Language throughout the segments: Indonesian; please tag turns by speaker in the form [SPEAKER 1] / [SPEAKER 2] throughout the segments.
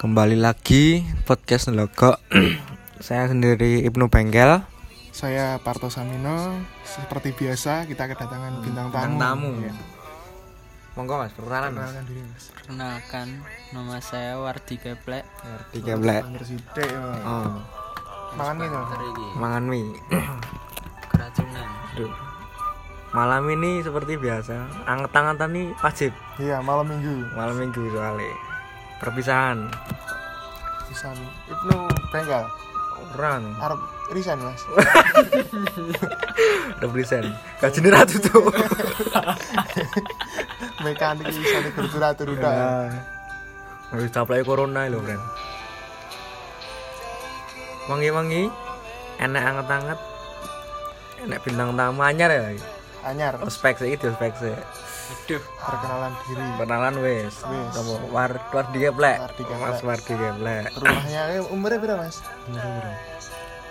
[SPEAKER 1] Kembali lagi podcast Nelogo Saya sendiri Ibnu Bengkel
[SPEAKER 2] Saya Parto Samino. Seperti biasa kita kedatangan bintang tamu.
[SPEAKER 1] Hmm, Bintang tamu.
[SPEAKER 2] Ya,
[SPEAKER 1] Monggo mas, perkenalan mas
[SPEAKER 2] perkenalkan diri Mas.
[SPEAKER 3] Perkenalkan, nama saya Wardi Geblek.
[SPEAKER 1] Tiga belak
[SPEAKER 2] Angger sithik. ya.
[SPEAKER 1] oh,
[SPEAKER 2] Mangan nih, Mas.
[SPEAKER 3] Teriki,
[SPEAKER 1] Mangan mie
[SPEAKER 3] keracunan.
[SPEAKER 1] Aduh. Malam ini seperti biasa Anget-angetan nih wajib
[SPEAKER 2] Iya, malam Minggu.
[SPEAKER 1] Malam minggu soalnya Perpisahan
[SPEAKER 2] Pisan Ibnu Bengkel.
[SPEAKER 1] Orang
[SPEAKER 2] Arab Risan, Mas.
[SPEAKER 1] Represent Gaji ini ratu tuh
[SPEAKER 2] Mekanik Risan Gertura
[SPEAKER 1] Iya.
[SPEAKER 2] Turuda.
[SPEAKER 1] Ah. Habis caplai corona lho Ren Wangi-wangi Enak anget-anget Enak bintang tamu anyar ya lagi
[SPEAKER 2] Anyar.
[SPEAKER 1] Ospek sih, itu ospek sih
[SPEAKER 3] Aduh,
[SPEAKER 2] Perkenalan diri.
[SPEAKER 1] Perkenalan wes
[SPEAKER 2] Wes.
[SPEAKER 1] Kamu war, war dia plek
[SPEAKER 2] Wardi Geblek.
[SPEAKER 1] Mas war dia plek
[SPEAKER 2] Rumahnya eh, umurnya berapa, Mas?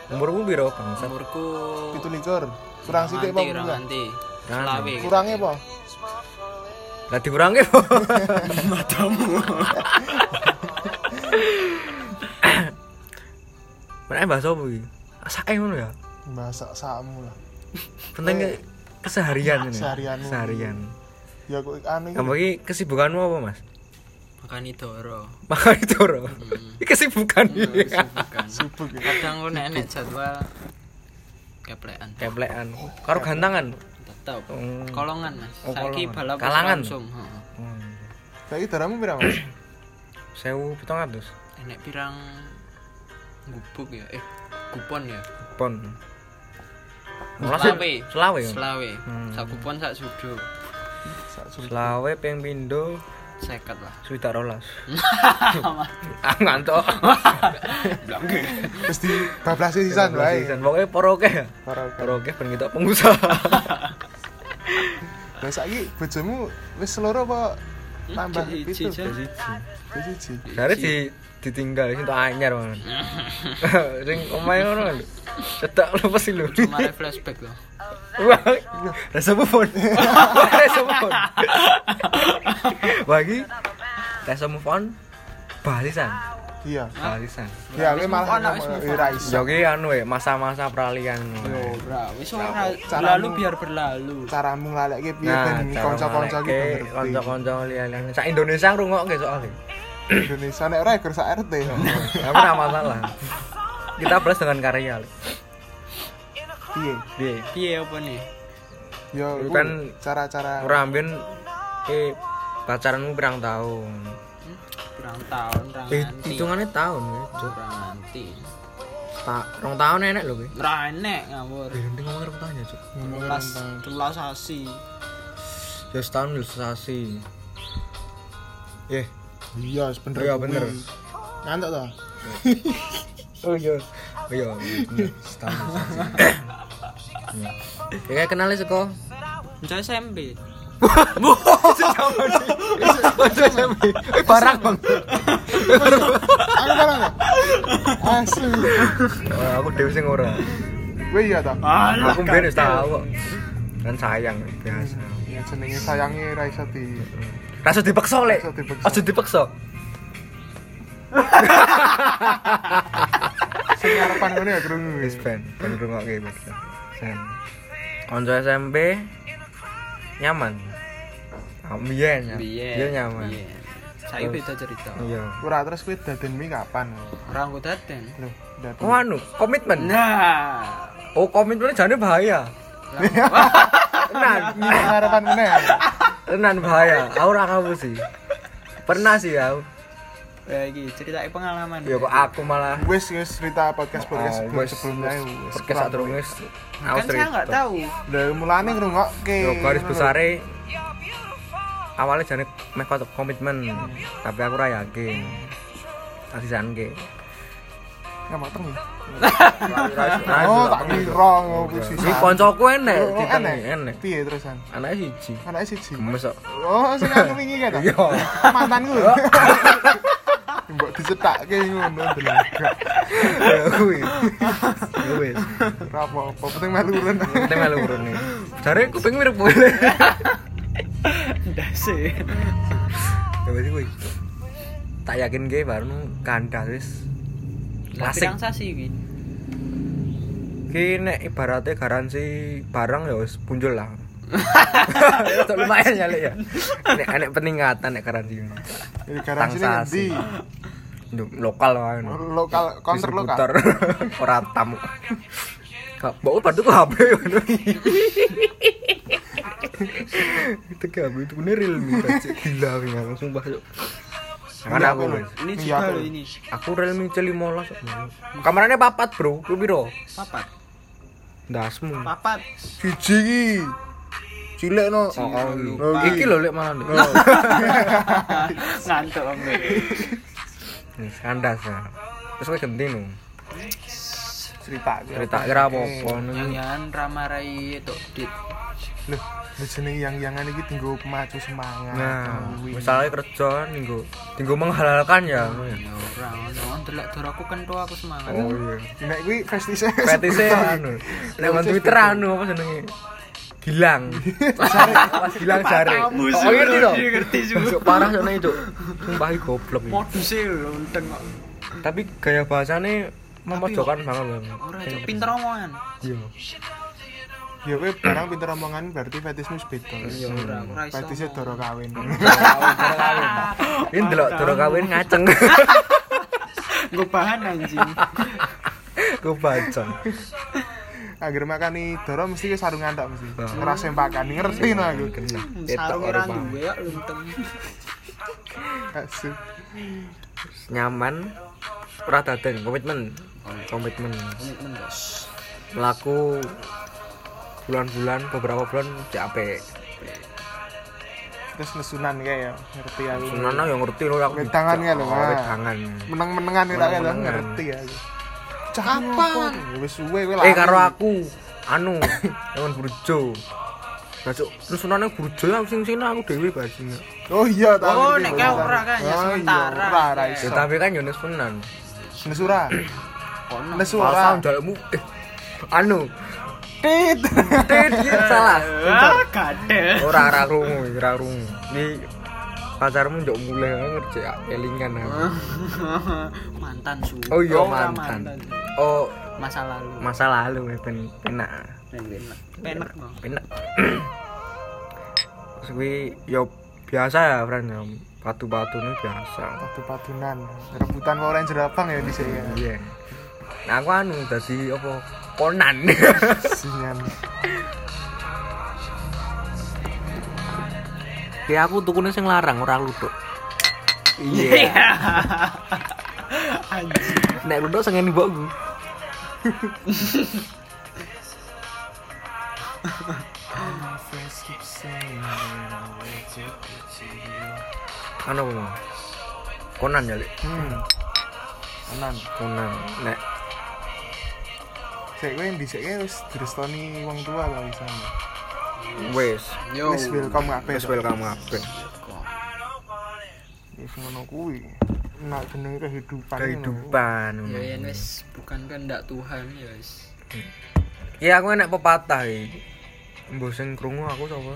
[SPEAKER 1] Umurmu biro bangsa
[SPEAKER 3] umurku
[SPEAKER 2] Itu likur. Kurang sithik apa
[SPEAKER 3] nganti, ora
[SPEAKER 2] enggak?
[SPEAKER 3] nganti.
[SPEAKER 1] Kan.
[SPEAKER 3] Selawe.
[SPEAKER 2] Kurangnya apa?
[SPEAKER 1] Lah dikurangi po Matamu Mana bahasa apa ini? Sae ngono ya
[SPEAKER 2] Bahasa samu lah.
[SPEAKER 1] pentingnya Eh, keseharian ini
[SPEAKER 2] Keseharianmu.
[SPEAKER 1] keseharian
[SPEAKER 2] Ya kok anu iki.
[SPEAKER 1] kamu ini kesibukanmu apa mas
[SPEAKER 3] Makan idoro.
[SPEAKER 1] makan itu roh ini Hmm. kesibukan ya
[SPEAKER 3] Bukan.
[SPEAKER 2] sibuk ya.
[SPEAKER 3] Kadang ku nek nek jadwal keplekan.
[SPEAKER 1] keplekan karo gantangan
[SPEAKER 3] Tetep.
[SPEAKER 1] Hmm.
[SPEAKER 3] Kolongan, Mas.
[SPEAKER 1] Oh,
[SPEAKER 3] Saiki
[SPEAKER 1] kolongan.
[SPEAKER 3] balap
[SPEAKER 1] Kalangan.
[SPEAKER 3] langsung. heeh.
[SPEAKER 2] Saiki daramu berapa, Mas?
[SPEAKER 1] sewu pitung atus
[SPEAKER 3] Enek pirang gubuk ya. Eh, kupon ya.
[SPEAKER 1] pon Mulai
[SPEAKER 3] Selawe.
[SPEAKER 1] se- selawe ya? Hmm.
[SPEAKER 3] Selawe. Sak kupon sak sudu.
[SPEAKER 2] Sak sulit.
[SPEAKER 1] selawe ping pindho
[SPEAKER 3] 50 lah.
[SPEAKER 1] swidak rolas ah ngantuk
[SPEAKER 2] Wis di bablasi sisan wae.
[SPEAKER 1] Sisan. pokoknya poroke
[SPEAKER 2] Para
[SPEAKER 1] poroke ben kita pengusaha
[SPEAKER 2] Lah saiki bojomu wis loro apa tambah
[SPEAKER 3] Siji,
[SPEAKER 2] pitu?
[SPEAKER 3] siji.
[SPEAKER 2] Wis siji.
[SPEAKER 1] dari di
[SPEAKER 2] Iya.
[SPEAKER 1] ditinggal itu anyar man ring omahe ngono lho. cetak lu pasti lu
[SPEAKER 3] Cuma flashback loh.
[SPEAKER 1] Wah, rasa mufon. rasa mufon. Bagi rasa mufon balisan,
[SPEAKER 2] Iya.
[SPEAKER 1] balisan.
[SPEAKER 2] Ya, kowe malah
[SPEAKER 3] Anak wis
[SPEAKER 2] ngomong,
[SPEAKER 3] move on.
[SPEAKER 2] "Eh, ra iso."
[SPEAKER 1] Yo ki anu ya, masa-masa peralihan.
[SPEAKER 2] Yo,
[SPEAKER 3] Ora, wis ora
[SPEAKER 2] Cara-
[SPEAKER 3] lalu biar berlalu.
[SPEAKER 2] Caramu nglaleke
[SPEAKER 1] Nah,
[SPEAKER 2] piye ben Nah, kanca-kanca
[SPEAKER 1] iki
[SPEAKER 2] iki ben gitu, ngerti.
[SPEAKER 1] kanca-kanca liyan. Sak Indonesia ngrungokke soalnya.
[SPEAKER 2] Indonesia nek ora gur sak RT.
[SPEAKER 1] Tapi ora masalah. Kita beres dengan karya. Li.
[SPEAKER 2] Piye?
[SPEAKER 1] Piye?
[SPEAKER 3] Piye apa nih?
[SPEAKER 2] Yo,
[SPEAKER 1] Lu
[SPEAKER 2] ku
[SPEAKER 1] kan
[SPEAKER 2] cara-cara
[SPEAKER 1] Ora amben eh pacaranmu pirang tahun?
[SPEAKER 3] Hmm? Kurang tahun, kurang
[SPEAKER 1] Eh,
[SPEAKER 3] nanti.
[SPEAKER 1] hitungannya tahun ya, Cuk.
[SPEAKER 3] Kurang nanti.
[SPEAKER 1] Tak rong tahun enak lho ki.
[SPEAKER 3] Ora enek ngawur.
[SPEAKER 1] Berhenti ngomong rong tahun ya, Cuk.
[SPEAKER 3] Telas, telas asi.
[SPEAKER 1] Ya setahun ilustrasi. Eh,
[SPEAKER 2] Iya, wis bener.
[SPEAKER 1] Iya,
[SPEAKER 2] kuwi.
[SPEAKER 1] bener.
[SPEAKER 2] Ngantuk ta?
[SPEAKER 1] oh iya. Oh iya, bener. setahun ilustrasi. Ya kenalnya seko.
[SPEAKER 3] Mencari SMP.
[SPEAKER 1] Eh barang bang.
[SPEAKER 2] Aku kan enggak. Asu.
[SPEAKER 1] Wah, aku dewe sing ora.
[SPEAKER 2] Kowe iya ta?
[SPEAKER 3] Alah.
[SPEAKER 1] Aku mbiyen wis tahu kok. Kan sayang biasa.
[SPEAKER 2] Ya jenenge sayange ra iso di
[SPEAKER 1] Rasa dipaksa lek.
[SPEAKER 2] Rasa dipaksa.
[SPEAKER 1] Aja dipaksa.
[SPEAKER 2] sing arepan ngene ya krungu
[SPEAKER 1] Wis
[SPEAKER 2] wis.
[SPEAKER 1] ben, ben rungokke Mas. Sen. Konco SMP nyaman. Ah,
[SPEAKER 3] Biyen.
[SPEAKER 1] Ambien. Biyen ya. Iya, nyaman.
[SPEAKER 3] Biyen. Saiki
[SPEAKER 1] Terus.
[SPEAKER 3] beda cerita.
[SPEAKER 1] Iya.
[SPEAKER 2] Ora terus kowe dadenmi kapan?
[SPEAKER 3] Ora aku daten.
[SPEAKER 2] Loh, daden.
[SPEAKER 1] Oh anu, komitmen.
[SPEAKER 3] Nah.
[SPEAKER 1] Oh komitmennya jane bahaya. Tenan,
[SPEAKER 2] Ini ya. harapan meneh.
[SPEAKER 1] tenan bahaya. Aku ora kamu sih. Pernah sih aku.
[SPEAKER 3] Ya iki ceritake pengalaman.
[SPEAKER 1] Ya kok aku malah
[SPEAKER 2] Wis wis cerita podcast podcast
[SPEAKER 1] Oh,
[SPEAKER 2] sebelum
[SPEAKER 1] wes-
[SPEAKER 2] sebelumnya wis.
[SPEAKER 1] wes- podcast
[SPEAKER 2] kurang
[SPEAKER 1] aturunge.
[SPEAKER 3] Kan saya enggak tahu.
[SPEAKER 2] Lah mulane ngrungokke.
[SPEAKER 1] Yo garis besare awalnya jane meh kot- komitmen, tapi aku ora yakin. Tadi sanke.
[SPEAKER 2] Ya mateng ya. Oh, tak
[SPEAKER 1] Oh,
[SPEAKER 2] kira ngopo sih.
[SPEAKER 1] Iki koncoku enek,
[SPEAKER 2] Oh,
[SPEAKER 1] diteni
[SPEAKER 2] enek.
[SPEAKER 1] enek.
[SPEAKER 2] Piye terusan?
[SPEAKER 1] Anake siji.
[SPEAKER 2] Anake siji.
[SPEAKER 1] Gemes kok.
[SPEAKER 2] Oh, sing aku wingi kan. ta?
[SPEAKER 1] Iya.
[SPEAKER 2] Mantanku. Mbok dicetakke ngono delaga.
[SPEAKER 1] Ya kuwi. Ya wis.
[SPEAKER 2] Ora apa-apa, penting melu urun.
[SPEAKER 1] Nek melu urune. Jare kuping mirip boleh.
[SPEAKER 3] Ndase.
[SPEAKER 1] Ya wis kuwi. tak yakin ge baru kanda wis
[SPEAKER 4] Tapi
[SPEAKER 1] klasik
[SPEAKER 4] rangsasi iki.
[SPEAKER 1] ki nek ibaratnya garansi barang ya wis punjul lah Tok lumayan ya Lek, ya nek nek peningkatan nek garansi
[SPEAKER 2] Jadi garansi ini
[SPEAKER 1] Tangsasi.
[SPEAKER 2] ngendi?
[SPEAKER 1] Nduk, lokal wae no.
[SPEAKER 2] Lokal counter lokal.
[SPEAKER 1] Distributor. ora tamu Kak, bawa padu ke HP ngono. Itu ke HP itu bener real nih, Cek. gila ya langsung bahas. yuk. Jangan aku, Mas.
[SPEAKER 4] Ini
[SPEAKER 2] Iya,
[SPEAKER 4] juga
[SPEAKER 2] aku.
[SPEAKER 4] loh ini.
[SPEAKER 1] Aku Realme C15. Kameranya papat, Bro. Lu piro?
[SPEAKER 4] Papat.
[SPEAKER 1] Ndasmu.
[SPEAKER 4] Papat.
[SPEAKER 2] Siji iki. Cilik
[SPEAKER 1] Oh,
[SPEAKER 2] no.
[SPEAKER 1] oh,
[SPEAKER 2] Lho,
[SPEAKER 1] oh. Iki lho lek malah. Lek.
[SPEAKER 4] Ngantuk om. gue.
[SPEAKER 1] Nih, Hmm, kandas ya. Terus kowe ganti no.
[SPEAKER 2] cerita
[SPEAKER 1] Cerita kira apa-apa no.
[SPEAKER 4] Yang yang ramarai itu dit.
[SPEAKER 2] Loh, lho jenenge yang-yangan iki dienggo pemacu semangat.
[SPEAKER 1] Nah,
[SPEAKER 2] Kuwi.
[SPEAKER 1] misalnya kerja minggu, minggu menghalalkan ya. ngono ya.
[SPEAKER 4] Ya ora ono delok doraku kentu aku semangat.
[SPEAKER 1] Oh iya.
[SPEAKER 2] nek kuwi festise.
[SPEAKER 1] Fetise anu. Nek nang Twitter anu apa jenenge? Gilang. Pas gilang jare. Oh ngerti to?
[SPEAKER 4] Iya, ngerti juga.
[SPEAKER 1] Masuk parah sono itu. Sumpah iki goblok. iki.
[SPEAKER 4] Moduse lho unteng kok.
[SPEAKER 1] Tapi gaya bahasane memojokkan banget. Bang.
[SPEAKER 4] Ora itu pinter omongan.
[SPEAKER 1] Iya.
[SPEAKER 2] Ya kuwi barang pinter omongan berarti fetismu beda.
[SPEAKER 1] Iya,
[SPEAKER 4] Ya ora aku ra iso.
[SPEAKER 2] Fetise doro kawin.
[SPEAKER 1] Ini delok durung kawin ngaceng.
[SPEAKER 4] Nggo bahan anjing.
[SPEAKER 1] Ku bacong.
[SPEAKER 2] Agar makani doro mesti wis sarungan tok mesti.
[SPEAKER 1] Nah. Iya,
[SPEAKER 2] Ngerasain pakan ngerti no aku.
[SPEAKER 1] Kena.
[SPEAKER 4] Sarung
[SPEAKER 1] Ketok
[SPEAKER 4] ora
[SPEAKER 1] orang.
[SPEAKER 4] duwe kok lunteng.
[SPEAKER 1] iya.
[SPEAKER 2] Asu.
[SPEAKER 1] Nyaman. Ora dadan komitmen. Komitmen.
[SPEAKER 4] Komitmen bos.
[SPEAKER 1] Melaku bulan-bulan beberapa bulan capek.
[SPEAKER 2] Terus nesunan kayak ya. Ngerti aku.
[SPEAKER 1] Senana yang ngerti lho aku.
[SPEAKER 2] Wit tangannya lho,
[SPEAKER 1] Oh,
[SPEAKER 2] nah.
[SPEAKER 1] wit tangan.
[SPEAKER 2] Meneng-menengan kita kayak
[SPEAKER 1] Meneng-menengan.
[SPEAKER 2] ngerti aku. Cah, Kapan? Wis suwe kowe
[SPEAKER 1] Eh karo aku anu dengan burjo. Masuk terus senane burjo aku sing sing aku dhewe basinya.
[SPEAKER 2] Oh iya tak
[SPEAKER 4] Oh,
[SPEAKER 2] ngerti,
[SPEAKER 4] nek
[SPEAKER 2] tak
[SPEAKER 4] kayak
[SPEAKER 2] ngerti.
[SPEAKER 4] ora kan, ya
[SPEAKER 2] Oh, iya,
[SPEAKER 4] sementara.
[SPEAKER 2] Ora ora
[SPEAKER 4] Ya,
[SPEAKER 2] iso.
[SPEAKER 1] Ya tapi kan yo nesunan.
[SPEAKER 2] Nesura.
[SPEAKER 4] Ono.
[SPEAKER 2] Nesura.
[SPEAKER 1] Pasal njalukmu eh anu
[SPEAKER 2] Tit.
[SPEAKER 1] tit iya, salah.
[SPEAKER 4] Ah, kadel.
[SPEAKER 1] Ora ora krungu, iki ora krungu. Iki pacarmu njok mulai aku ngerjek elingan aku.
[SPEAKER 4] mantan su.
[SPEAKER 1] Oh iya
[SPEAKER 4] ora
[SPEAKER 1] mantan. Oh
[SPEAKER 4] Masa lalu.
[SPEAKER 1] masa lalu ya, ben enak.
[SPEAKER 4] Penak. Penak no.
[SPEAKER 1] enak terus gue yo biasa ya friend ya patu-patu ini biasa
[SPEAKER 2] Patu patunan. Rebutan orang jerapang ya di sini.
[SPEAKER 1] iya nah aku anu dadi apa konan
[SPEAKER 2] Singan.
[SPEAKER 1] ya aku tukune sing larang ora luduk
[SPEAKER 2] Iya.
[SPEAKER 4] Anjing.
[SPEAKER 1] nek luduk sing ngene mbokku anu apa mau? konan ya Lik?
[SPEAKER 2] Hmm. Tenan.
[SPEAKER 1] konan nek
[SPEAKER 2] Sik kowe ndhisike wis direstoni wong tua kok bisa.
[SPEAKER 1] wes
[SPEAKER 3] Yo.
[SPEAKER 2] Wis welcome kabeh.
[SPEAKER 1] wes welcome kabeh
[SPEAKER 2] Wis ngono kuwi. Nak jenenge kehidupan.
[SPEAKER 1] Anu. kehidupan
[SPEAKER 4] Ya yen wis bukan kehendak Tuhan ya wis.
[SPEAKER 1] Iya aku enak pepatah iki. Mbok sing krungu aku sapa?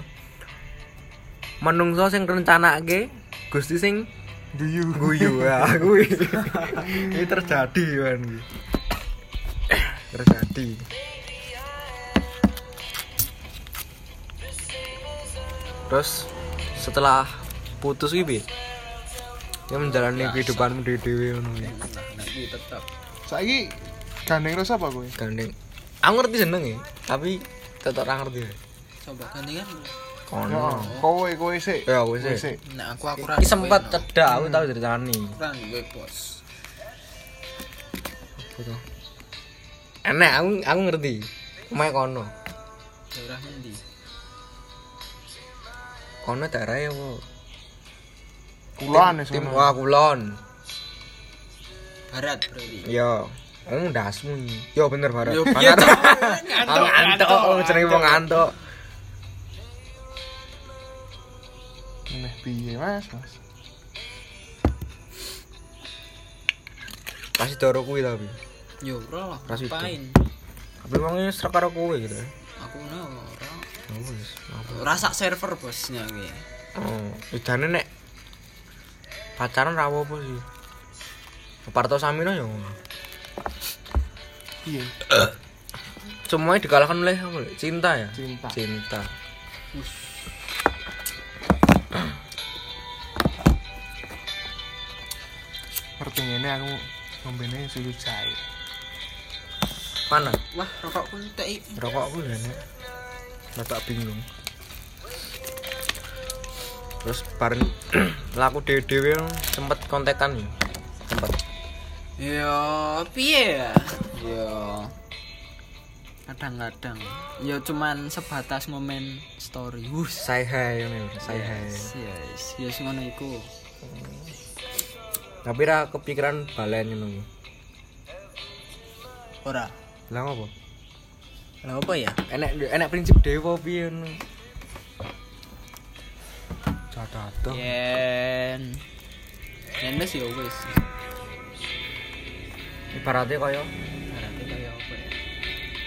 [SPEAKER 1] Menungso sing rencanake Gusti sing
[SPEAKER 2] Duyu.
[SPEAKER 1] guyu ya aku. Ini terjadi kan iki. Terjadi. Terus setelah putus iki piye? Ya menjalani kehidupanmu dhewe-dhewe ngono ya.
[SPEAKER 4] Nah, nek iki tetep
[SPEAKER 2] Saiki gandeng terus apa kowe?
[SPEAKER 1] Gandeng. Aku ngerti seneng ya, tapi tetep ora ngerti.
[SPEAKER 4] coba gandengan.
[SPEAKER 2] Yo,
[SPEAKER 1] Ono.
[SPEAKER 2] kowe kowe sik.
[SPEAKER 1] Ya aku
[SPEAKER 2] Kowe
[SPEAKER 1] sih.
[SPEAKER 2] sik.
[SPEAKER 4] Nek Nah, aku aku ra
[SPEAKER 1] Ini sempat
[SPEAKER 4] duwe, no.
[SPEAKER 1] cedak, aku tahu ceritani.
[SPEAKER 4] Ra duwe bos.
[SPEAKER 1] Enak, aku aku ngerti. Omae kono.
[SPEAKER 4] Daerah ngendi?
[SPEAKER 1] Kono daerahnya apa?
[SPEAKER 2] Kulon wis
[SPEAKER 1] Tim
[SPEAKER 2] ngono.
[SPEAKER 1] wah kulon.
[SPEAKER 4] Barat berarti.
[SPEAKER 1] Yo. Oh, dasmu. iki. Yo bener barat.
[SPEAKER 4] Yo,
[SPEAKER 1] Barat.
[SPEAKER 4] iya,
[SPEAKER 1] Aku ngantuk, aku jenenge wong ngantuk.
[SPEAKER 2] Meh piye Mas? Mas?
[SPEAKER 1] Pasti doro kuwi tapi.
[SPEAKER 4] Yo ora lah,
[SPEAKER 1] Ras itu.
[SPEAKER 4] ngapain?
[SPEAKER 1] Tapi wong ini serak karo kuwi gitu. ya.
[SPEAKER 4] Aku no ora.
[SPEAKER 1] Oh, wis.
[SPEAKER 4] Ora sak server bosnya kuwi.
[SPEAKER 1] Oh, idane nek pacaran ra apa sih Parto Samino ya ngono.
[SPEAKER 2] iya
[SPEAKER 1] semuanya dikalahkan oleh apa, Le? cinta ya
[SPEAKER 2] cinta
[SPEAKER 1] cinta
[SPEAKER 2] pertingene aku ngombene susu jahe
[SPEAKER 1] mana
[SPEAKER 4] Wah, rokokku entek iki.
[SPEAKER 1] rokokku lho nek tak bingung terus bareng laku dhewe-dhewe sempet kontekan ya sempet
[SPEAKER 4] Ya, piye ya? Ya. Kadang-kadang ya cuman sebatas momen story. Wus.
[SPEAKER 1] say hi ngene lho, say hi
[SPEAKER 4] Yes, yes, yes ngono iku.
[SPEAKER 1] tapi ra kepikiran balen ngono
[SPEAKER 4] Ora.
[SPEAKER 1] lah ngopo
[SPEAKER 4] Lah apa ya?
[SPEAKER 1] enek enek prinsip dewa piye ngono Jadado.
[SPEAKER 4] Yen. Yen wis ya wis.
[SPEAKER 1] Ibaratnya kaya
[SPEAKER 4] Berarti kaya apa ya?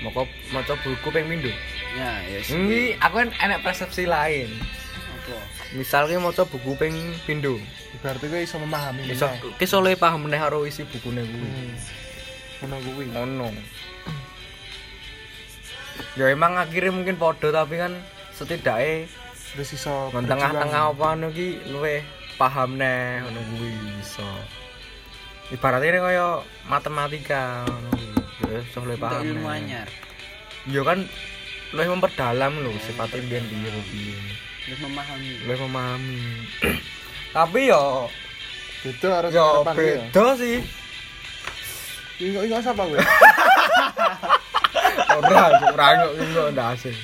[SPEAKER 1] moko maca buku ping pindho.
[SPEAKER 4] Ya, yes.
[SPEAKER 1] Ini aku en- enek persepsi lain.
[SPEAKER 4] Apa?
[SPEAKER 1] Misalnya maca buku ping pindho.
[SPEAKER 2] berarti kowe iso memahami
[SPEAKER 1] Iso
[SPEAKER 2] meneh.
[SPEAKER 1] Iya. ki sole paham meneh karo isi bukune kuwi.
[SPEAKER 2] Hmm. ngono kuwi
[SPEAKER 1] Ngono. Ya emang akhirnya mungkin podo tapi kan setidaknya
[SPEAKER 2] terus iso
[SPEAKER 1] tengah-tengah
[SPEAKER 2] berjuang.
[SPEAKER 1] apa anu ki luwe paham neh ngono kuwi iso. Ibaratnya ini kaya matematika ngono kuwi. Ya iso luwe
[SPEAKER 4] Untuk
[SPEAKER 1] paham. neh.
[SPEAKER 4] ilmu anyar.
[SPEAKER 1] Ya kan luwe memperdalam lho sifatnya biyen piye kok piye.
[SPEAKER 4] Untuk memahami.
[SPEAKER 1] Luwe memahami. tapi yo
[SPEAKER 2] beda harus
[SPEAKER 1] yo Ya,
[SPEAKER 2] ya.
[SPEAKER 1] beda sih.
[SPEAKER 2] ingat ingat siapa kowe
[SPEAKER 1] ora ora kok iku ndak asing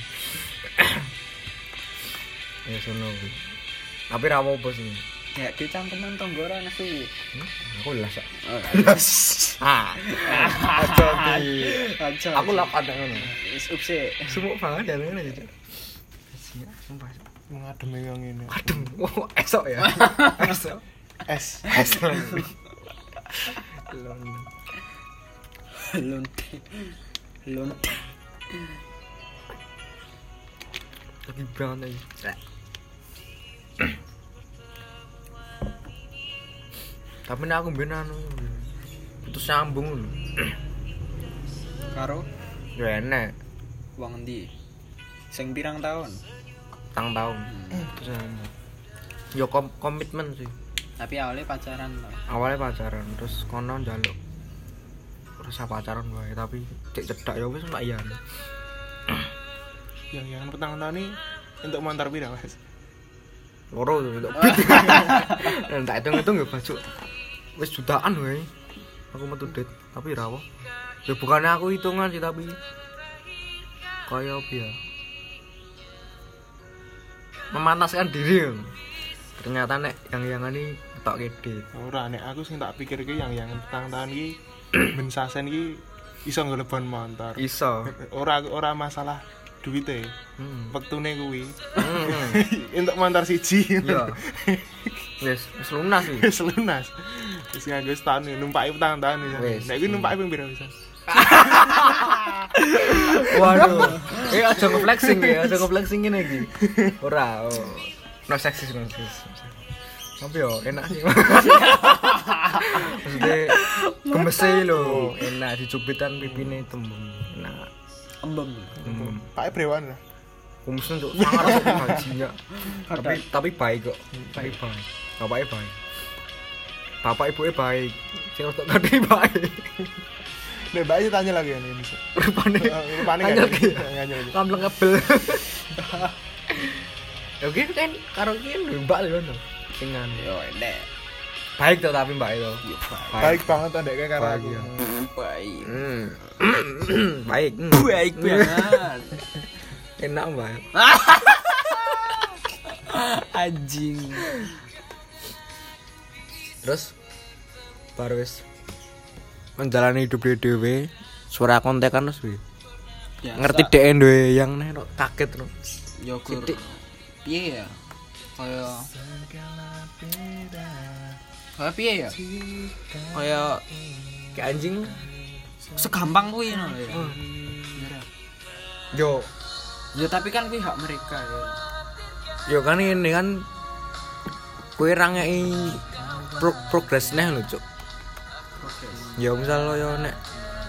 [SPEAKER 1] ya sono kuwi tapi ra apa sih
[SPEAKER 4] Ya, dicangkeman tonggo ora nesu.
[SPEAKER 1] aku las
[SPEAKER 4] Oh,
[SPEAKER 1] ah aja di
[SPEAKER 4] aja.
[SPEAKER 1] aku lapat nang ngono
[SPEAKER 4] Wis upse.
[SPEAKER 1] sumuk banget ya ngono ya sumpah
[SPEAKER 2] ngademe yo ngene
[SPEAKER 1] adem oh, esok ya esok
[SPEAKER 2] es
[SPEAKER 1] esok
[SPEAKER 4] Lonte. Lonte.
[SPEAKER 1] tapi banget lagi tapi nek aku mbene anu putus sambung lho
[SPEAKER 4] Karo
[SPEAKER 1] ya enek
[SPEAKER 4] wong endi? Sing pirang tahun?
[SPEAKER 1] tang tahun
[SPEAKER 4] Hmm.
[SPEAKER 1] Terus anu. yo kom- komitmen sih
[SPEAKER 4] Tapi awalnya pacaran loh.
[SPEAKER 1] awalnya pacaran terus kono njaluk rasa pacaran wae tapi cek cedak ya wis mbak Ian
[SPEAKER 2] yang yang petang tahun ini untuk mantar pira mas
[SPEAKER 1] loro tuh untuk bit tak hitung hitung ya baju wis jutaan wae aku metu dit tapi rawo ya bukannya aku hitungan sih tapi kaya apa ya memantaskan diri ternyata nek yang yang ini tak kredit
[SPEAKER 2] ora nek aku sing tak pikir ki yang yang petang tahun ki ben sasen ki iso ngelebon motor
[SPEAKER 1] iso
[SPEAKER 2] ora ora masalah duite
[SPEAKER 1] hmm.
[SPEAKER 2] wektune kuwi
[SPEAKER 1] Hmm.
[SPEAKER 2] untuk mantar siji
[SPEAKER 1] Iya. Wes, wes lunas sih.
[SPEAKER 2] wis lunas wis nganggo setahun ya, numpaki petang tahun ya
[SPEAKER 1] Wis.
[SPEAKER 2] nek kuwi numpaki ping pira bisa
[SPEAKER 1] Waduh. Eh aja nge-flexing ya, aja nge-flexing ngene iki. Ora. oh. No seksis, no seksis. Tapi yo enak sih. Maksudnya gemesi lho, enak dicubitan pipine tembung. Enak.
[SPEAKER 4] Embem.
[SPEAKER 1] Tembung.
[SPEAKER 2] pake brewan lah
[SPEAKER 1] Kumusnya cuk sangar kok gajinya. ya. Tapi tapi baik kok. Tapi baik. Bapaknya baik. Bapak ibunya baik. Sing rodok gede baik.
[SPEAKER 2] nek mbak Ayu tanya lagi ya nih Eh, bisa
[SPEAKER 1] Rupane.
[SPEAKER 2] panik
[SPEAKER 1] Tanya lagi. ya?
[SPEAKER 2] nganyel lagi
[SPEAKER 1] Lambleng ngebel. Ya kuwi kan karo kuwi lho Mbak lho ngono. Sing anu.
[SPEAKER 4] Yo enek.
[SPEAKER 1] Baik tuh tapi Mbak itu.
[SPEAKER 4] Yo baik.
[SPEAKER 2] baik banget tuh nek karo
[SPEAKER 1] Baik,
[SPEAKER 2] aku
[SPEAKER 1] iya.
[SPEAKER 4] Baik.
[SPEAKER 1] Hmm. baik. Hmm.
[SPEAKER 4] Baik banget.
[SPEAKER 1] Enak Mbak.
[SPEAKER 4] Anjing.
[SPEAKER 1] Terus baru wis menjalani hidup dhewe dhewe suara kontek kan terus piye?
[SPEAKER 4] Biasa.
[SPEAKER 1] ngerti dhek dhewe yang nek no, kaget no.
[SPEAKER 4] Yogur.
[SPEAKER 1] Sidik.
[SPEAKER 4] Piye ya? Kaya Kaya piye ya? Kaya
[SPEAKER 1] kayak anjing
[SPEAKER 4] segampang kuwi ngono lho ya. Bener.
[SPEAKER 1] yo
[SPEAKER 4] Ya tapi kan kuwi hak mereka ya.
[SPEAKER 1] yo kan ini kan kue rangai pro progresnya lho cuk ya misal lo ya nek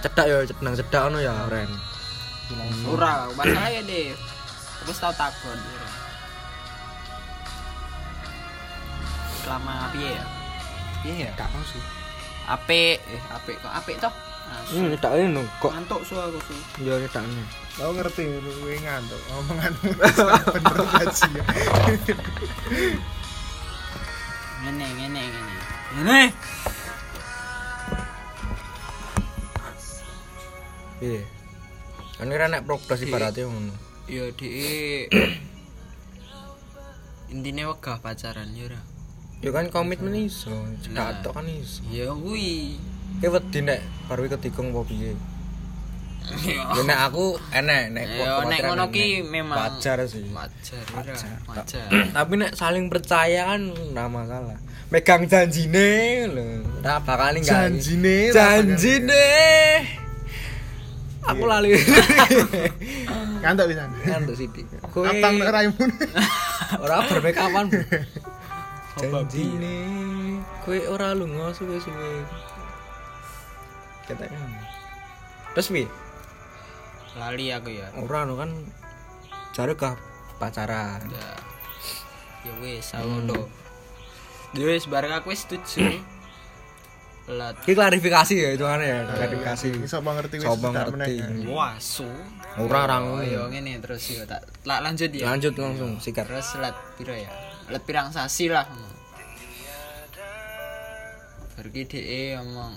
[SPEAKER 1] cedak ya cedang cedak ono ya ren
[SPEAKER 4] Ora, masalah ya deh. Terus tau takon. ya. Selama piye ya? Piye ya?
[SPEAKER 1] gak mau sih
[SPEAKER 4] Apik, eh apik kok apik toh. Nah, su-
[SPEAKER 1] hmm cedak ini no, kok
[SPEAKER 4] Ngantuk su aku su.
[SPEAKER 1] ya cedak ini
[SPEAKER 2] Aku ngerti, gue ngantuk. Omonganmu bener gaji ya.
[SPEAKER 4] Ngene ngene ngene. Ngene.
[SPEAKER 1] iya kan kira nek progres ibaratnya ngono
[SPEAKER 3] ya
[SPEAKER 4] Iya,
[SPEAKER 3] de intinya wegah pacaran ya ora
[SPEAKER 1] ya kan komitmen iso
[SPEAKER 3] Nah.
[SPEAKER 1] cedak tok kan iso
[SPEAKER 3] ya kuwi
[SPEAKER 1] Ki wedi nek baru ketikung apa piye
[SPEAKER 3] ya
[SPEAKER 1] ya nek aku enek nek
[SPEAKER 3] Ya,
[SPEAKER 1] kematian
[SPEAKER 3] nek ngono ki
[SPEAKER 1] enek.
[SPEAKER 3] memang
[SPEAKER 1] wajar sih
[SPEAKER 3] wajar ora
[SPEAKER 1] Wajar.
[SPEAKER 3] wajar
[SPEAKER 1] tapi nek saling percaya kan nggak masalah megang janjine lho nah bakal enggak
[SPEAKER 2] Janjine, Iya.
[SPEAKER 1] janjine aku lali
[SPEAKER 2] Ngantuk bisa.
[SPEAKER 1] kan tuh sithik kowe Hmm.
[SPEAKER 2] Atang nek raimu.
[SPEAKER 1] ora berbekapan janjine kowe ora lunga suwe-suwe katanya
[SPEAKER 2] kan?
[SPEAKER 1] terus wi
[SPEAKER 4] Lali aku ya.
[SPEAKER 1] ora no kan jare kah pacaran
[SPEAKER 4] Ya. Ya wis,
[SPEAKER 1] Hmm.
[SPEAKER 4] aku lo. Ya wis, bareng aku wis setuju. Lah,
[SPEAKER 1] Ini klarifikasi ya itu kan ya klarifikasi
[SPEAKER 2] Eh, Iso mau ngerti wis
[SPEAKER 1] coba
[SPEAKER 2] tak meneh.
[SPEAKER 1] ngerti
[SPEAKER 4] wah su.
[SPEAKER 1] ora orang
[SPEAKER 4] Oh, ya ngene terus yo tak tak lanjut ya.
[SPEAKER 1] Hmm. lanjut langsung sikat
[SPEAKER 4] terus let piro ya let pirang sasi lah pergi de ngomong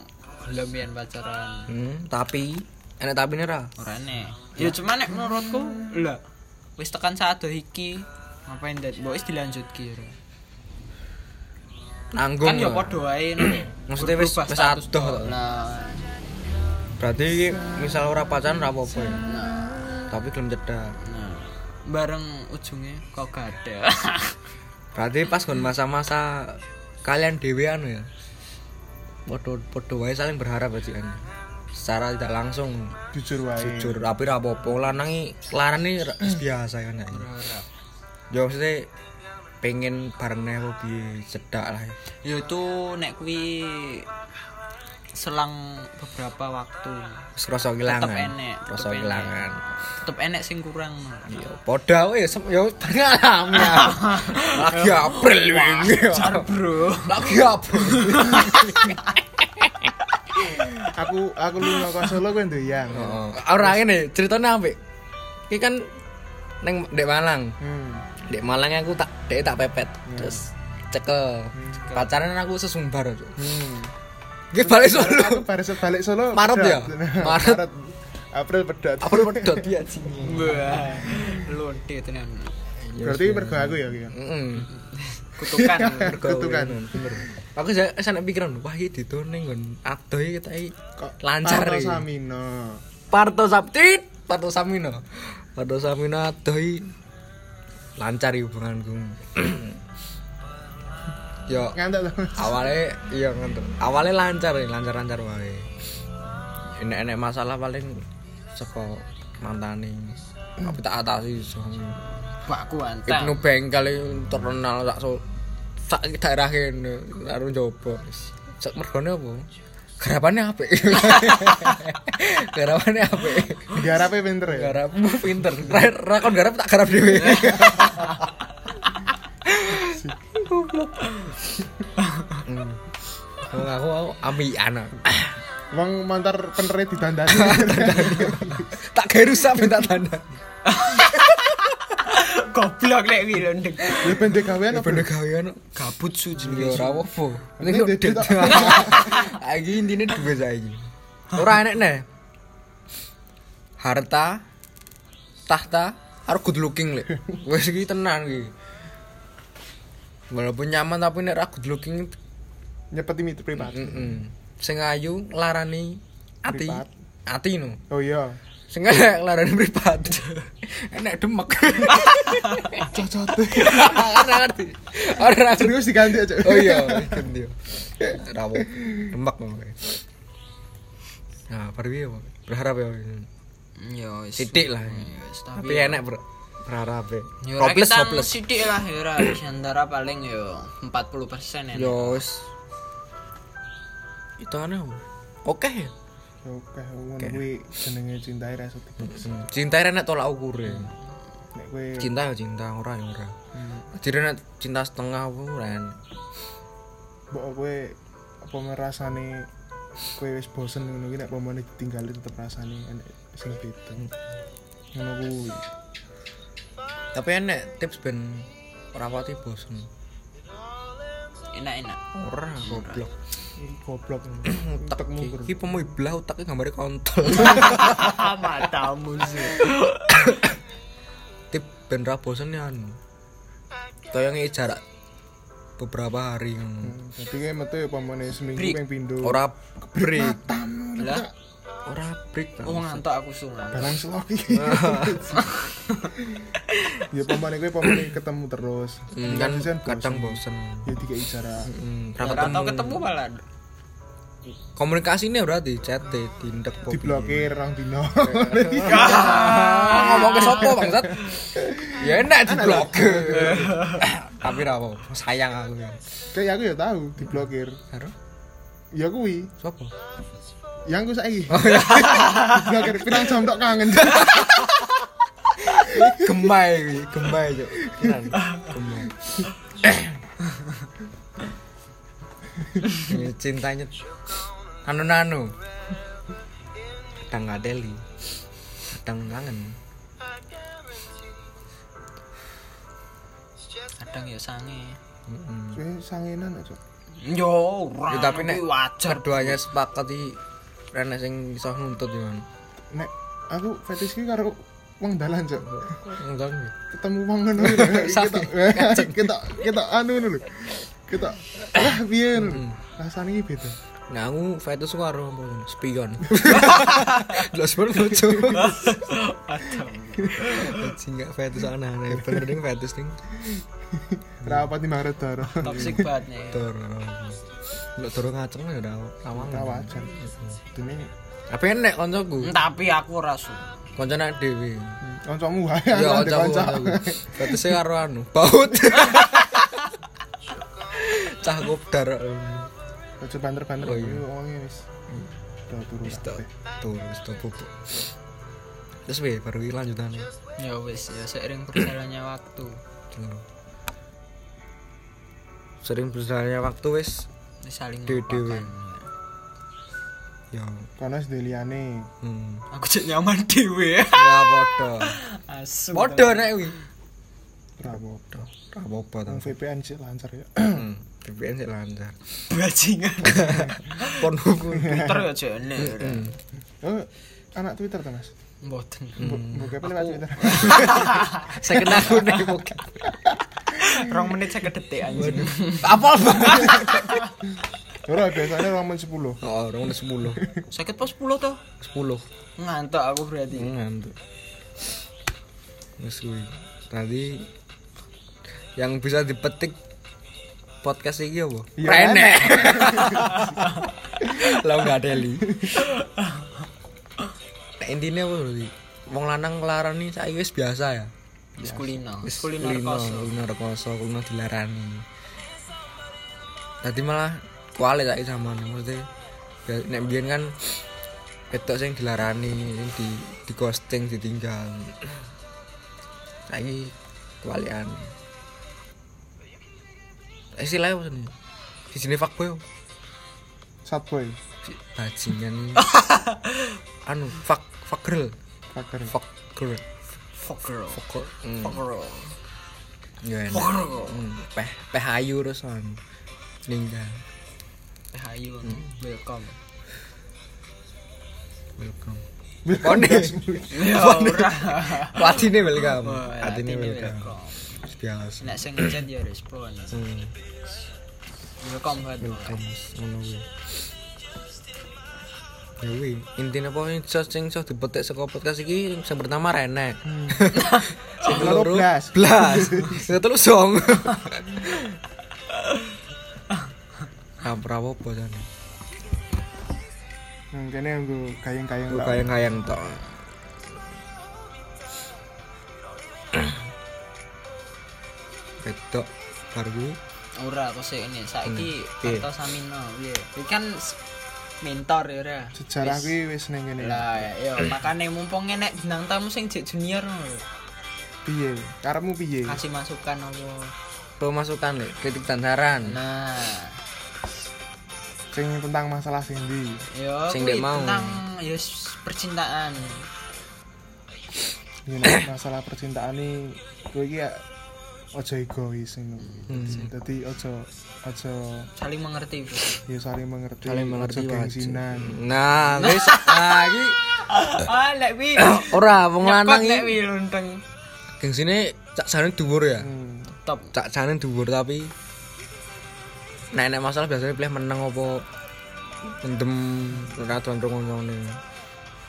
[SPEAKER 4] belum yen pacaran
[SPEAKER 1] Hmm, tapi enak tapi nih ra.
[SPEAKER 4] ora ne ya cuman nek menurutku lah wis tekan saat iki ngapain dat mbok wis dilanjut kira
[SPEAKER 1] Nanggung.
[SPEAKER 4] kan ya
[SPEAKER 1] lah.
[SPEAKER 4] padha wae no.
[SPEAKER 1] Maksudnya wis-
[SPEAKER 4] Berubah
[SPEAKER 1] wis adoh,
[SPEAKER 4] status
[SPEAKER 1] toh.
[SPEAKER 4] tok. nah
[SPEAKER 1] Berarti iki misal ora pacaran ra apa-apa ya.
[SPEAKER 4] nah
[SPEAKER 1] Tapi belum cedak.
[SPEAKER 4] nah bareng ujungnya kok gada
[SPEAKER 1] Berarti pas gon masa-masa kalian dewean ya. Podo podo wae saling berharap aja kan. Secara tidak langsung
[SPEAKER 2] Jujur wae.
[SPEAKER 1] jujur tapi ra apa-apa lanang iki larane ra- biasa kan ya.
[SPEAKER 4] Hmm. ora
[SPEAKER 1] Yo maksudnya pengen bareng nih apa piye cedak lah. ya.
[SPEAKER 4] ya itu nek kuwi selang beberapa waktu
[SPEAKER 1] Wis krasa
[SPEAKER 4] tetep
[SPEAKER 1] kehilangan.
[SPEAKER 4] enek
[SPEAKER 1] Krasa kehilangan.
[SPEAKER 4] tetep enek sing kurang no.
[SPEAKER 1] Iya, poda wae sem- ya pengalaman. Lagi April wingi.
[SPEAKER 4] bro
[SPEAKER 1] Lagi April.
[SPEAKER 2] Aku aku lu nang Solo ya? kuwi ndoyang.
[SPEAKER 1] Heeh. Ora ngene, ceritane ambek. Iki kan neng Dek Malang.
[SPEAKER 2] Hmm.
[SPEAKER 1] Dek Malang aku tak dek tak pepet.
[SPEAKER 4] Hmm.
[SPEAKER 1] Terus cekel. Pacaran aku sesumbar. Cuk.
[SPEAKER 2] Hmm.
[SPEAKER 1] Iki balik
[SPEAKER 2] Aku
[SPEAKER 1] Solo.
[SPEAKER 2] baru balik Solo.
[SPEAKER 1] Maret ya?
[SPEAKER 2] pedot.
[SPEAKER 1] Maret.
[SPEAKER 2] April pedot.
[SPEAKER 1] April pedot ya sih.
[SPEAKER 4] wah lonte tenan
[SPEAKER 1] Iya,
[SPEAKER 2] Berarti mergo aku ya gitu.
[SPEAKER 1] Heeh.
[SPEAKER 4] kutukan
[SPEAKER 2] Kutukan.
[SPEAKER 1] Aku saya sana pikiran, wah iki ditone nggon adoh iki kita iki lancar iya.
[SPEAKER 2] Parno
[SPEAKER 1] iki.
[SPEAKER 2] Samino.
[SPEAKER 1] Parto Sabtit, Parto Samino. Parto Samino doi lancar iki hubunganku. Yo
[SPEAKER 2] Ngantuk to.
[SPEAKER 1] awalnya iya ngantuk. Awalnya lancar ya, lancar-lancar wae. Enek-enek masalah paling saka mantane. Tapi tak atasi iso.
[SPEAKER 4] bakku antang
[SPEAKER 1] Ibnu Bengkel iki terkenal tak so sak daerah kene karo njobo. Sak mergone apa? Garapannya apik. Garapannya apik.
[SPEAKER 2] Garape pinter ya.
[SPEAKER 1] Garapmu pinter. Ra- Rakon garap tak garap dhewe. Goblok. Hmm. Aku aku aku ambian.
[SPEAKER 2] Wong mantar pentere didandani.
[SPEAKER 1] Tak gawe rusak ben tak tanda.
[SPEAKER 4] goblok nek kuwi lonte
[SPEAKER 2] Ya pendek gawean apa?
[SPEAKER 1] Bener gawean
[SPEAKER 4] gabut su
[SPEAKER 1] ya
[SPEAKER 4] jenenge
[SPEAKER 1] ora apa-apa.
[SPEAKER 2] Iya, Ini
[SPEAKER 1] Ini
[SPEAKER 2] duit
[SPEAKER 1] duit.
[SPEAKER 2] tok.
[SPEAKER 1] Iki intine duwe saiki. Ora enek ne. Harta tahta harus good looking lek. Wis iki tenan iki. Walaupun nyaman tapi nek ra good looking
[SPEAKER 2] Nyepeti mit privat.
[SPEAKER 1] Mm-mm. Sing ayu larani ati.
[SPEAKER 2] Pripat.
[SPEAKER 1] Ati no.
[SPEAKER 2] Oh iya.
[SPEAKER 1] Sing elek larani pripat. Enak demek.
[SPEAKER 2] Cocot.
[SPEAKER 1] Ora ngerti. Ora ngerti.
[SPEAKER 2] Serius diganti aja.
[SPEAKER 1] Oh iya, ganti. Rawo. Demek ngono. Nah, perwi apa? Berharap ya.
[SPEAKER 4] ya wis
[SPEAKER 1] Sidik lah.
[SPEAKER 4] Ya wis,
[SPEAKER 1] Hmm. Tapi
[SPEAKER 4] tapi
[SPEAKER 1] enak ber- berharap. ya.
[SPEAKER 4] Ya, ora
[SPEAKER 1] Hopeless
[SPEAKER 4] kita
[SPEAKER 1] hopeless.
[SPEAKER 4] sithik lah ya ora di antara paling yo 40% ya
[SPEAKER 1] Yo wis. hitungannya apa? oke ya
[SPEAKER 2] Ya, Oke, Hmm. ngono kuwi jenenge cintai ra iso dibales.
[SPEAKER 1] Hmm, cinta enak tolak ukur ya
[SPEAKER 2] Nek kowe
[SPEAKER 1] cinta ya cinta ora ya ora jadi nek cinta setengah apa ora enak.
[SPEAKER 2] mbok kowe apa ngrasani kowe wis bosen ngono kuwi nek pamane ditinggali tetep rasane enek sing beda. Ngono kuwi.
[SPEAKER 1] tapi enak tips ben ora pati bosen
[SPEAKER 4] enak-enak
[SPEAKER 1] ora goblok
[SPEAKER 2] Ih, goblok.
[SPEAKER 1] utak
[SPEAKER 2] Utekmu ber.
[SPEAKER 1] iki pemu ibelah utaknya gambarnya kontol
[SPEAKER 4] matamu sih
[SPEAKER 1] tip ben ra bosen ya anu kaya nge jarak beberapa hari ngono.
[SPEAKER 2] Dadi kowe metu ya pamane seminggu
[SPEAKER 4] Break.
[SPEAKER 2] ping pindho.
[SPEAKER 1] ora break
[SPEAKER 4] lah
[SPEAKER 1] Hmm. ora break tau.
[SPEAKER 4] oh ngantuk aku sungan
[SPEAKER 2] barang selok ya pamane kowe pamane ketemu terus
[SPEAKER 1] Hmm, kan kadang bosen
[SPEAKER 2] ya tiga icara
[SPEAKER 1] Hmm, ra
[SPEAKER 4] Gak tau
[SPEAKER 1] ketemu
[SPEAKER 4] ketemu malah
[SPEAKER 1] komunikasinya berarti chat diindek popi.
[SPEAKER 2] diblokir orang dino
[SPEAKER 1] Ah, ngomong ke sopo bangsat ya enak diblokir tapi ra apa sayang aku ya
[SPEAKER 2] kayak aku ya tahu diblokir
[SPEAKER 1] karo
[SPEAKER 2] ya kuwi
[SPEAKER 1] sopo
[SPEAKER 2] yang aku saiki
[SPEAKER 1] Oh, iya.
[SPEAKER 2] diblokir pirang jam tok kangen
[SPEAKER 1] gemai kuwi, gemai cuk Kiran, gemai Ini cintanya anu nanu kadang ngadeli kadang kangen
[SPEAKER 4] kadang ya sange
[SPEAKER 1] Mm-mm.
[SPEAKER 2] Kowe sangenan aja
[SPEAKER 4] yo ora
[SPEAKER 1] Ya, tapi nek
[SPEAKER 4] kuwi Anu, wajar
[SPEAKER 1] keduanya sepakat iki rene sing iso nuntut kan. gimana
[SPEAKER 2] nek aku fetish ki karo wong dalan cok
[SPEAKER 1] enggak nggih.
[SPEAKER 2] ketemu wong ngono kita kita kita eh, anu ngono lho kita ah piye ngono
[SPEAKER 1] Hmm.
[SPEAKER 2] lho. rasane iki beda
[SPEAKER 1] nah aku fetus ku karo apa ngono? spion jelas banget lucu anjing gak fetus aneh-aneh bener ding fetus ding
[SPEAKER 2] rapat di maret darah
[SPEAKER 4] toxic banget nih
[SPEAKER 1] tur lu turu ngaceng ya udah awang
[SPEAKER 2] Ora wajar. Dene
[SPEAKER 1] tapi enek koncoku
[SPEAKER 4] Hmm, tapi aku ora su
[SPEAKER 1] koncone awake dhewe
[SPEAKER 2] kancamu wae
[SPEAKER 1] ya
[SPEAKER 2] ora
[SPEAKER 1] koncoku
[SPEAKER 2] dikonco.
[SPEAKER 1] koncoku fetuse karo anu baut cah gobdar
[SPEAKER 2] Aja banter-banter
[SPEAKER 1] Oh, iya. Hmm.
[SPEAKER 2] kuwi wong iki wis. Udah turu
[SPEAKER 1] wis tok
[SPEAKER 2] kabeh.
[SPEAKER 1] turu wis tok bubuk terus weh baru iki lanjutane
[SPEAKER 4] ya wis ya seiring berjalannya waktu
[SPEAKER 1] Dulu. sering berjalannya waktu wis
[SPEAKER 4] ini saling
[SPEAKER 1] Dewe- dewe.
[SPEAKER 4] melupakan
[SPEAKER 1] ya
[SPEAKER 2] Kono wis deliane.
[SPEAKER 1] hmm
[SPEAKER 4] aku cek nyaman dewe
[SPEAKER 1] ya podo
[SPEAKER 4] asu
[SPEAKER 1] podo nek wi
[SPEAKER 2] Ora apa-apa.
[SPEAKER 1] ora apa-apa ta
[SPEAKER 2] Wong VPN sik lancar ya.
[SPEAKER 1] Hmm, VPN sih lancar
[SPEAKER 4] bajingan
[SPEAKER 1] pornoku
[SPEAKER 4] Twitter ya jene
[SPEAKER 2] Oh, anak Twitter ta, Mas?
[SPEAKER 4] mboten
[SPEAKER 1] Hmm.
[SPEAKER 2] Buka lewat Twitter.
[SPEAKER 1] saya kena aku nih mungkin
[SPEAKER 4] rong menit saya detik anjing
[SPEAKER 1] apa
[SPEAKER 2] Ora biasanya orang men 10.
[SPEAKER 1] oh orang udah sepuluh
[SPEAKER 4] sakit pas 10 toh
[SPEAKER 1] sepuluh
[SPEAKER 4] ngantuk aku berarti
[SPEAKER 1] ngantuk Wes kuwi. tadi yang bisa dipetik podcast ini apa?
[SPEAKER 2] Ya,
[SPEAKER 1] Rene. Lah enggak ada li. Nah, intinya apa berarti? Wong lanang larani saiki wis biasa ya.
[SPEAKER 4] Wis kulino
[SPEAKER 1] Wis
[SPEAKER 4] wis kulino kos
[SPEAKER 1] kuliner koso, kuliner dilarani. Tadi malah kuali saiki zaman maksudnya ya, nek biyen kan wedok sing dilarani, sing di di ghosting, ditinggal. Saiki kualian. Istilahnya apa sih? Di sini fuckboy. apa?
[SPEAKER 2] Satboy,
[SPEAKER 1] Bajingan. anu, fuck fuck girl,
[SPEAKER 2] kaker.
[SPEAKER 1] fuck girl,
[SPEAKER 4] fuck girl Mm.
[SPEAKER 1] fuck girl. Hmm.
[SPEAKER 4] fuck girl
[SPEAKER 1] Ya enak.
[SPEAKER 4] fuck girl
[SPEAKER 1] Hmm, peh peh ayu terus on ninggal
[SPEAKER 4] hayu welcome
[SPEAKER 1] welcome Oh,
[SPEAKER 2] Bukan.
[SPEAKER 4] ya ora
[SPEAKER 1] platine welcome
[SPEAKER 4] atine
[SPEAKER 1] platine welcome
[SPEAKER 4] Oh, iya, welcome
[SPEAKER 1] biasa
[SPEAKER 4] nek sing ngechat ya respon kan.
[SPEAKER 1] hmm,
[SPEAKER 4] welcome banget
[SPEAKER 1] welcome ngono kuwi Ya wih, intinya pokoknya sos sing sos dipetik saka podcast iki sing pertama Rene. sing
[SPEAKER 2] Loro
[SPEAKER 1] keloro
[SPEAKER 2] Blas.
[SPEAKER 1] Blas. Sing telu Song. Ah, prawopo jan.
[SPEAKER 2] Hmm, kene nggo kayang-kayang
[SPEAKER 1] Lu
[SPEAKER 2] lah.
[SPEAKER 1] kayang-kayang tok. Betok baru
[SPEAKER 4] ora aku sik ini saiki
[SPEAKER 1] Piye?
[SPEAKER 4] Anto Samino piye iki iya. kan s- mentor ya ora.
[SPEAKER 2] Sejarah
[SPEAKER 4] Wis.
[SPEAKER 2] kuwi wis ning kene.
[SPEAKER 4] Lah ya makane mumpung enek jenang tamu sing jek junior ngono lho.
[SPEAKER 2] Piye? Karepmu piye?
[SPEAKER 1] Iya.
[SPEAKER 4] Kasih masukan apa.
[SPEAKER 1] Pemasukan nih, kritik dan saran.
[SPEAKER 4] Nah,
[SPEAKER 2] Sing tentang masalah sing ndi?
[SPEAKER 4] yo
[SPEAKER 1] Sing
[SPEAKER 4] kuwi
[SPEAKER 1] dek mau.
[SPEAKER 4] tentang yo s- percintaan.
[SPEAKER 2] Yo, nek masalah percintaan iki kowe iki ya ojo egois ngono kuwi.
[SPEAKER 1] Hmm.
[SPEAKER 2] Dadi- Dadi ojo ojo
[SPEAKER 4] Saling mengerti. Bro.
[SPEAKER 2] ya saling mengerti,
[SPEAKER 1] Saling mengerti
[SPEAKER 2] ojo
[SPEAKER 1] wajib.
[SPEAKER 2] gengsinan.
[SPEAKER 1] Nah, wis ah iki
[SPEAKER 4] Ah, lek wi.
[SPEAKER 1] ora wong lanang
[SPEAKER 4] Nyokot lek
[SPEAKER 1] iki
[SPEAKER 4] wi lunteng.
[SPEAKER 1] gengsine cak jane dhuwur ya.
[SPEAKER 2] Hmm.
[SPEAKER 4] Top.
[SPEAKER 1] Cak jane dhuwur tapi nek nek masalah biasanya pilih meneng opo mendem ora tuan ngono.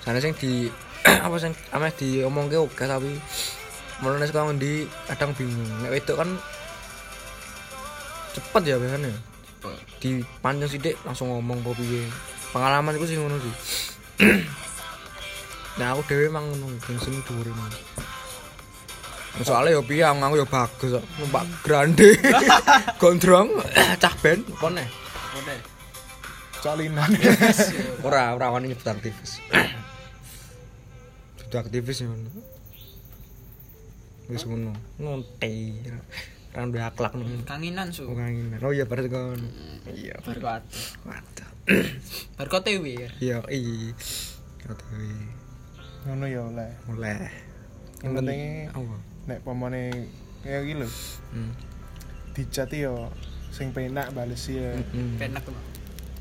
[SPEAKER 1] Jane sing di apa sing ame diomongke oke tapi mulane saka ngendi kadang bingung. Nek wedok kan cepet ya biasanya. dipancing sithik langsung ngomong kok piye. Pengalaman iku sing ngono sih. nah, aku dhewe mang ngono gengsi dhuwur mang. Soalnya yo piye aku aku yo bagus kok. Numpak grande. Gondrong cah ben eh. kone.
[SPEAKER 4] Udah.
[SPEAKER 2] Colinan.
[SPEAKER 1] Hmm. Ora ora wani nyebut aktivis. Sudah aktivis ya ngono. Wis ngono. Ngonti. Kan udah akhlak ngono.
[SPEAKER 4] Kanginan su.
[SPEAKER 1] Bukan Oh iya berarti kan. Iya.
[SPEAKER 4] Berkat.
[SPEAKER 1] Mantap.
[SPEAKER 4] Berkat wi. ya.
[SPEAKER 1] Iya, iya. Kowe
[SPEAKER 2] Ngono ya oleh.
[SPEAKER 1] mulai.
[SPEAKER 2] Yang
[SPEAKER 1] Hmm.
[SPEAKER 2] pentingnya
[SPEAKER 1] apa?
[SPEAKER 2] nek pomone kaya iki lho,
[SPEAKER 1] Hmm.
[SPEAKER 2] dicat yo sing penak bales ya.
[SPEAKER 1] Hmm.
[SPEAKER 4] Penak lho.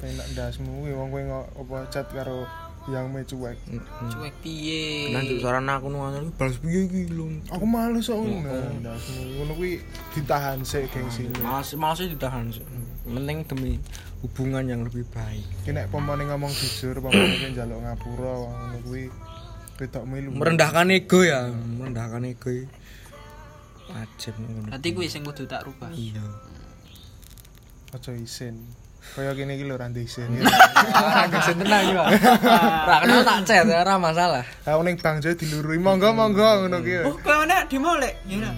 [SPEAKER 2] Penak ndasmu kuwi wong kowe ngo- apa chat karo yang me cuek.
[SPEAKER 1] Hmm.
[SPEAKER 4] Cuek piye.
[SPEAKER 1] Lanjut saran aku nuan iki balas piye iki lho.
[SPEAKER 2] Aku malu sok
[SPEAKER 1] Hmm.
[SPEAKER 2] ngono. Ndasmu ngono kuwi ditahan sik gengsinya.
[SPEAKER 1] Malas malas ditahan. sih. Penting demi hubungan yang lebih baik.
[SPEAKER 2] Ki nek pomane ngomong jujur, pomane ki njaluk ngapura ngono kuwi ketok melu.
[SPEAKER 1] Merendahkan ego ya, Hmm, merendahkan ego. i. Wajib ngono.
[SPEAKER 4] Berarti kuwi sing kudu tak rubah.
[SPEAKER 1] Iya.
[SPEAKER 2] Aja isin. Kaya kene iki lho ra ndek isin.
[SPEAKER 1] Ora kesen tenan iki, Pak. Ora kenal tak chat ora masalah.
[SPEAKER 2] Aku ning Bang Jo dilurui monggo-monggo ngono ki.
[SPEAKER 4] Oh, kowe enak dimolek. Ya.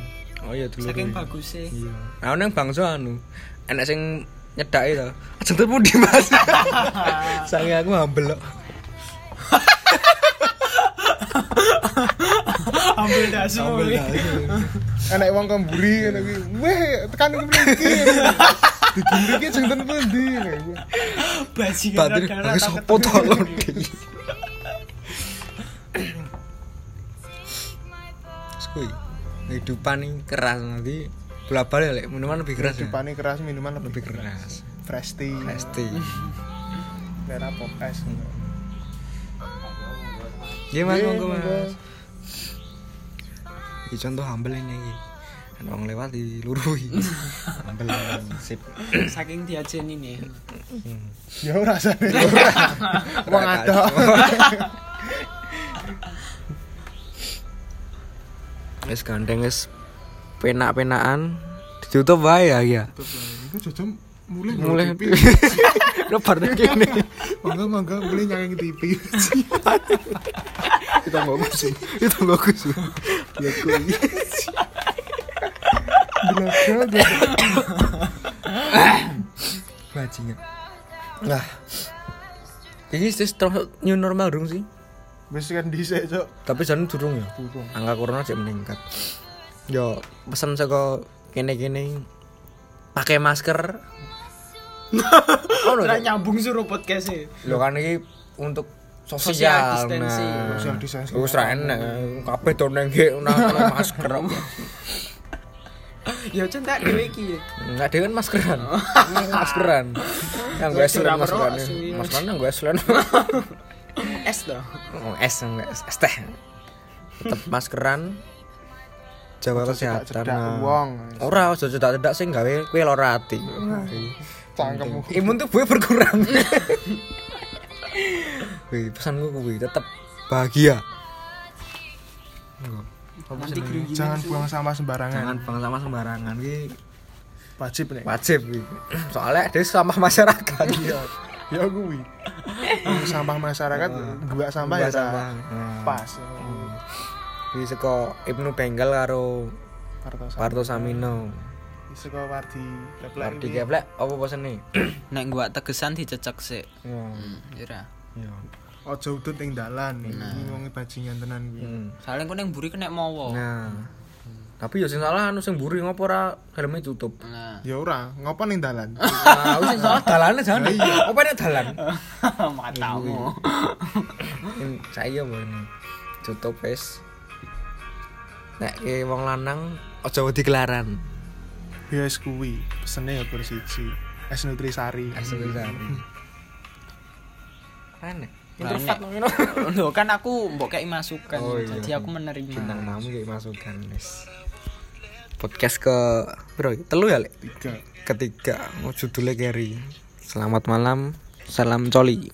[SPEAKER 1] Oh iya dulu.
[SPEAKER 4] Saking bagusnya.
[SPEAKER 1] Iya. Nah, nang bangsa anu, enek sing nyedaki to. Ajeng tuh pundi, Mas? Sange aku ambel kok.
[SPEAKER 4] Ambil dasu.
[SPEAKER 2] Enek wong kemburi ngono kuwi. Weh, tekan ku mriki. Digundhi ki jenten pundi.
[SPEAKER 4] Bajingan
[SPEAKER 1] Batin
[SPEAKER 4] rada
[SPEAKER 1] bagus sopo tolong. Skui. Kehidupan ini keras nanti bola balik lek minuman lebih keras ya.
[SPEAKER 2] Dipani keras Hmm. minuman
[SPEAKER 1] Lebih
[SPEAKER 2] lebih
[SPEAKER 1] keras.
[SPEAKER 2] fresh tea.
[SPEAKER 1] Pasti.
[SPEAKER 2] Merah pop es.
[SPEAKER 1] Iya Mas,
[SPEAKER 2] Iya,
[SPEAKER 1] monggo
[SPEAKER 2] monggo.
[SPEAKER 1] Mas. Iki contoh ambel ini iki. Ana wong lewat dilurui. Ambel sip.
[SPEAKER 4] Saking diajeni nih.
[SPEAKER 2] Ya ora rasane.
[SPEAKER 1] iya.
[SPEAKER 2] Wong adoh.
[SPEAKER 1] Wis gandeng wis penak-penakan ditutup wae ya ya.
[SPEAKER 2] Iku jojom mulai
[SPEAKER 1] Mulai lebar nang kene.
[SPEAKER 2] monggo-monggo mulai nyangin TV.
[SPEAKER 1] Kita bagus. Kita bagus. Ya kuwi.
[SPEAKER 2] Blok-blok.
[SPEAKER 1] Bajingan.
[SPEAKER 2] Lah,
[SPEAKER 1] Ini sih termasuk new normal dong sih.
[SPEAKER 2] wis kan dhisik, Cuk.
[SPEAKER 1] Tapi jangan durung ya.
[SPEAKER 2] Durung.
[SPEAKER 1] Angka corona cek meningkat. Yo pesan saka kene-kene pakai masker. oh, no,
[SPEAKER 4] Ora nyambung suruh podcast e.
[SPEAKER 1] lo kan ini untuk
[SPEAKER 4] Social
[SPEAKER 1] sosial,
[SPEAKER 4] distancing.
[SPEAKER 1] nah.
[SPEAKER 2] Social distancing.
[SPEAKER 1] Wis ra enak, kabeh to nang nggih nang masker.
[SPEAKER 4] Ya cinta dhewe iki.
[SPEAKER 1] Enggak dhewe kan maskeran.
[SPEAKER 4] Oh.
[SPEAKER 1] maskeran. Yang gue selain
[SPEAKER 4] Drama
[SPEAKER 1] maskeran.
[SPEAKER 4] roh, suwi.
[SPEAKER 1] Maskeran yang gue selain.
[SPEAKER 4] Es to.
[SPEAKER 1] Oh, es enggak es, es teh. Tetep maskeran. Jaga kesehatan.
[SPEAKER 2] cedak
[SPEAKER 1] nah.
[SPEAKER 2] wong.
[SPEAKER 1] Ora aja cedak-cedak sing gawe kowe lara ati.
[SPEAKER 2] Cangkemmu.
[SPEAKER 1] Imun tuh gue berkurang. Wih, pesanku kuwi tetep bahagia. Monggo. Apa
[SPEAKER 4] Nanti
[SPEAKER 1] senengnya?
[SPEAKER 4] geringi.
[SPEAKER 2] Jangan buang sampah sembarangan.
[SPEAKER 1] Jangan buang sampah sembarangan ki
[SPEAKER 2] Wajib nih.
[SPEAKER 1] wajib ki. Soalnya ada sampah masyarakat.
[SPEAKER 2] Iya. Ya kuwi. sampah masyarakat, dua sampah
[SPEAKER 1] Buang
[SPEAKER 2] ya
[SPEAKER 1] sampah.
[SPEAKER 2] sampah.
[SPEAKER 1] Nah.
[SPEAKER 2] Pas.
[SPEAKER 1] Di seko Ibnu Bengkel karo
[SPEAKER 2] Kartos.
[SPEAKER 1] Parto Samino.
[SPEAKER 2] Saka wardi keplek
[SPEAKER 1] Wardi
[SPEAKER 2] kuwi.
[SPEAKER 1] keplek apa pesene?
[SPEAKER 4] nek gua tegesan dicecek sik
[SPEAKER 1] Ya.
[SPEAKER 4] ira
[SPEAKER 1] Ya.
[SPEAKER 2] Ojo udut ning dalan iki wong bajingan tenan kuwi.
[SPEAKER 1] Hmm.
[SPEAKER 4] soalnya ku ning mburi kena mawa
[SPEAKER 1] Nah. Tapi ya sing salah anu sing mburi ngopo ora helme tutup.
[SPEAKER 4] nah
[SPEAKER 2] Ya ora, ngopo ning dalan?
[SPEAKER 1] Nah, wis sing salah dalane jangan. Apa nek dalan?
[SPEAKER 4] matamu
[SPEAKER 1] Ini saya mau ini. Tutup wis. Nek ke wong lanang aja wedi kelaran.
[SPEAKER 2] Ya wis kuwi, pesene ya kur siji. Es Nutrisari.
[SPEAKER 1] Asli kan. Aneh.
[SPEAKER 4] Interfat Loh kan aku mbok kei masukan
[SPEAKER 1] Oh, iya.
[SPEAKER 4] jadi aku menerima
[SPEAKER 1] Bintang tamu kayak masukan wis. Podcast ke bro, telu ya, Lek.
[SPEAKER 2] Tiga.
[SPEAKER 1] ketiga mau judulnya Gary selamat malam salam coli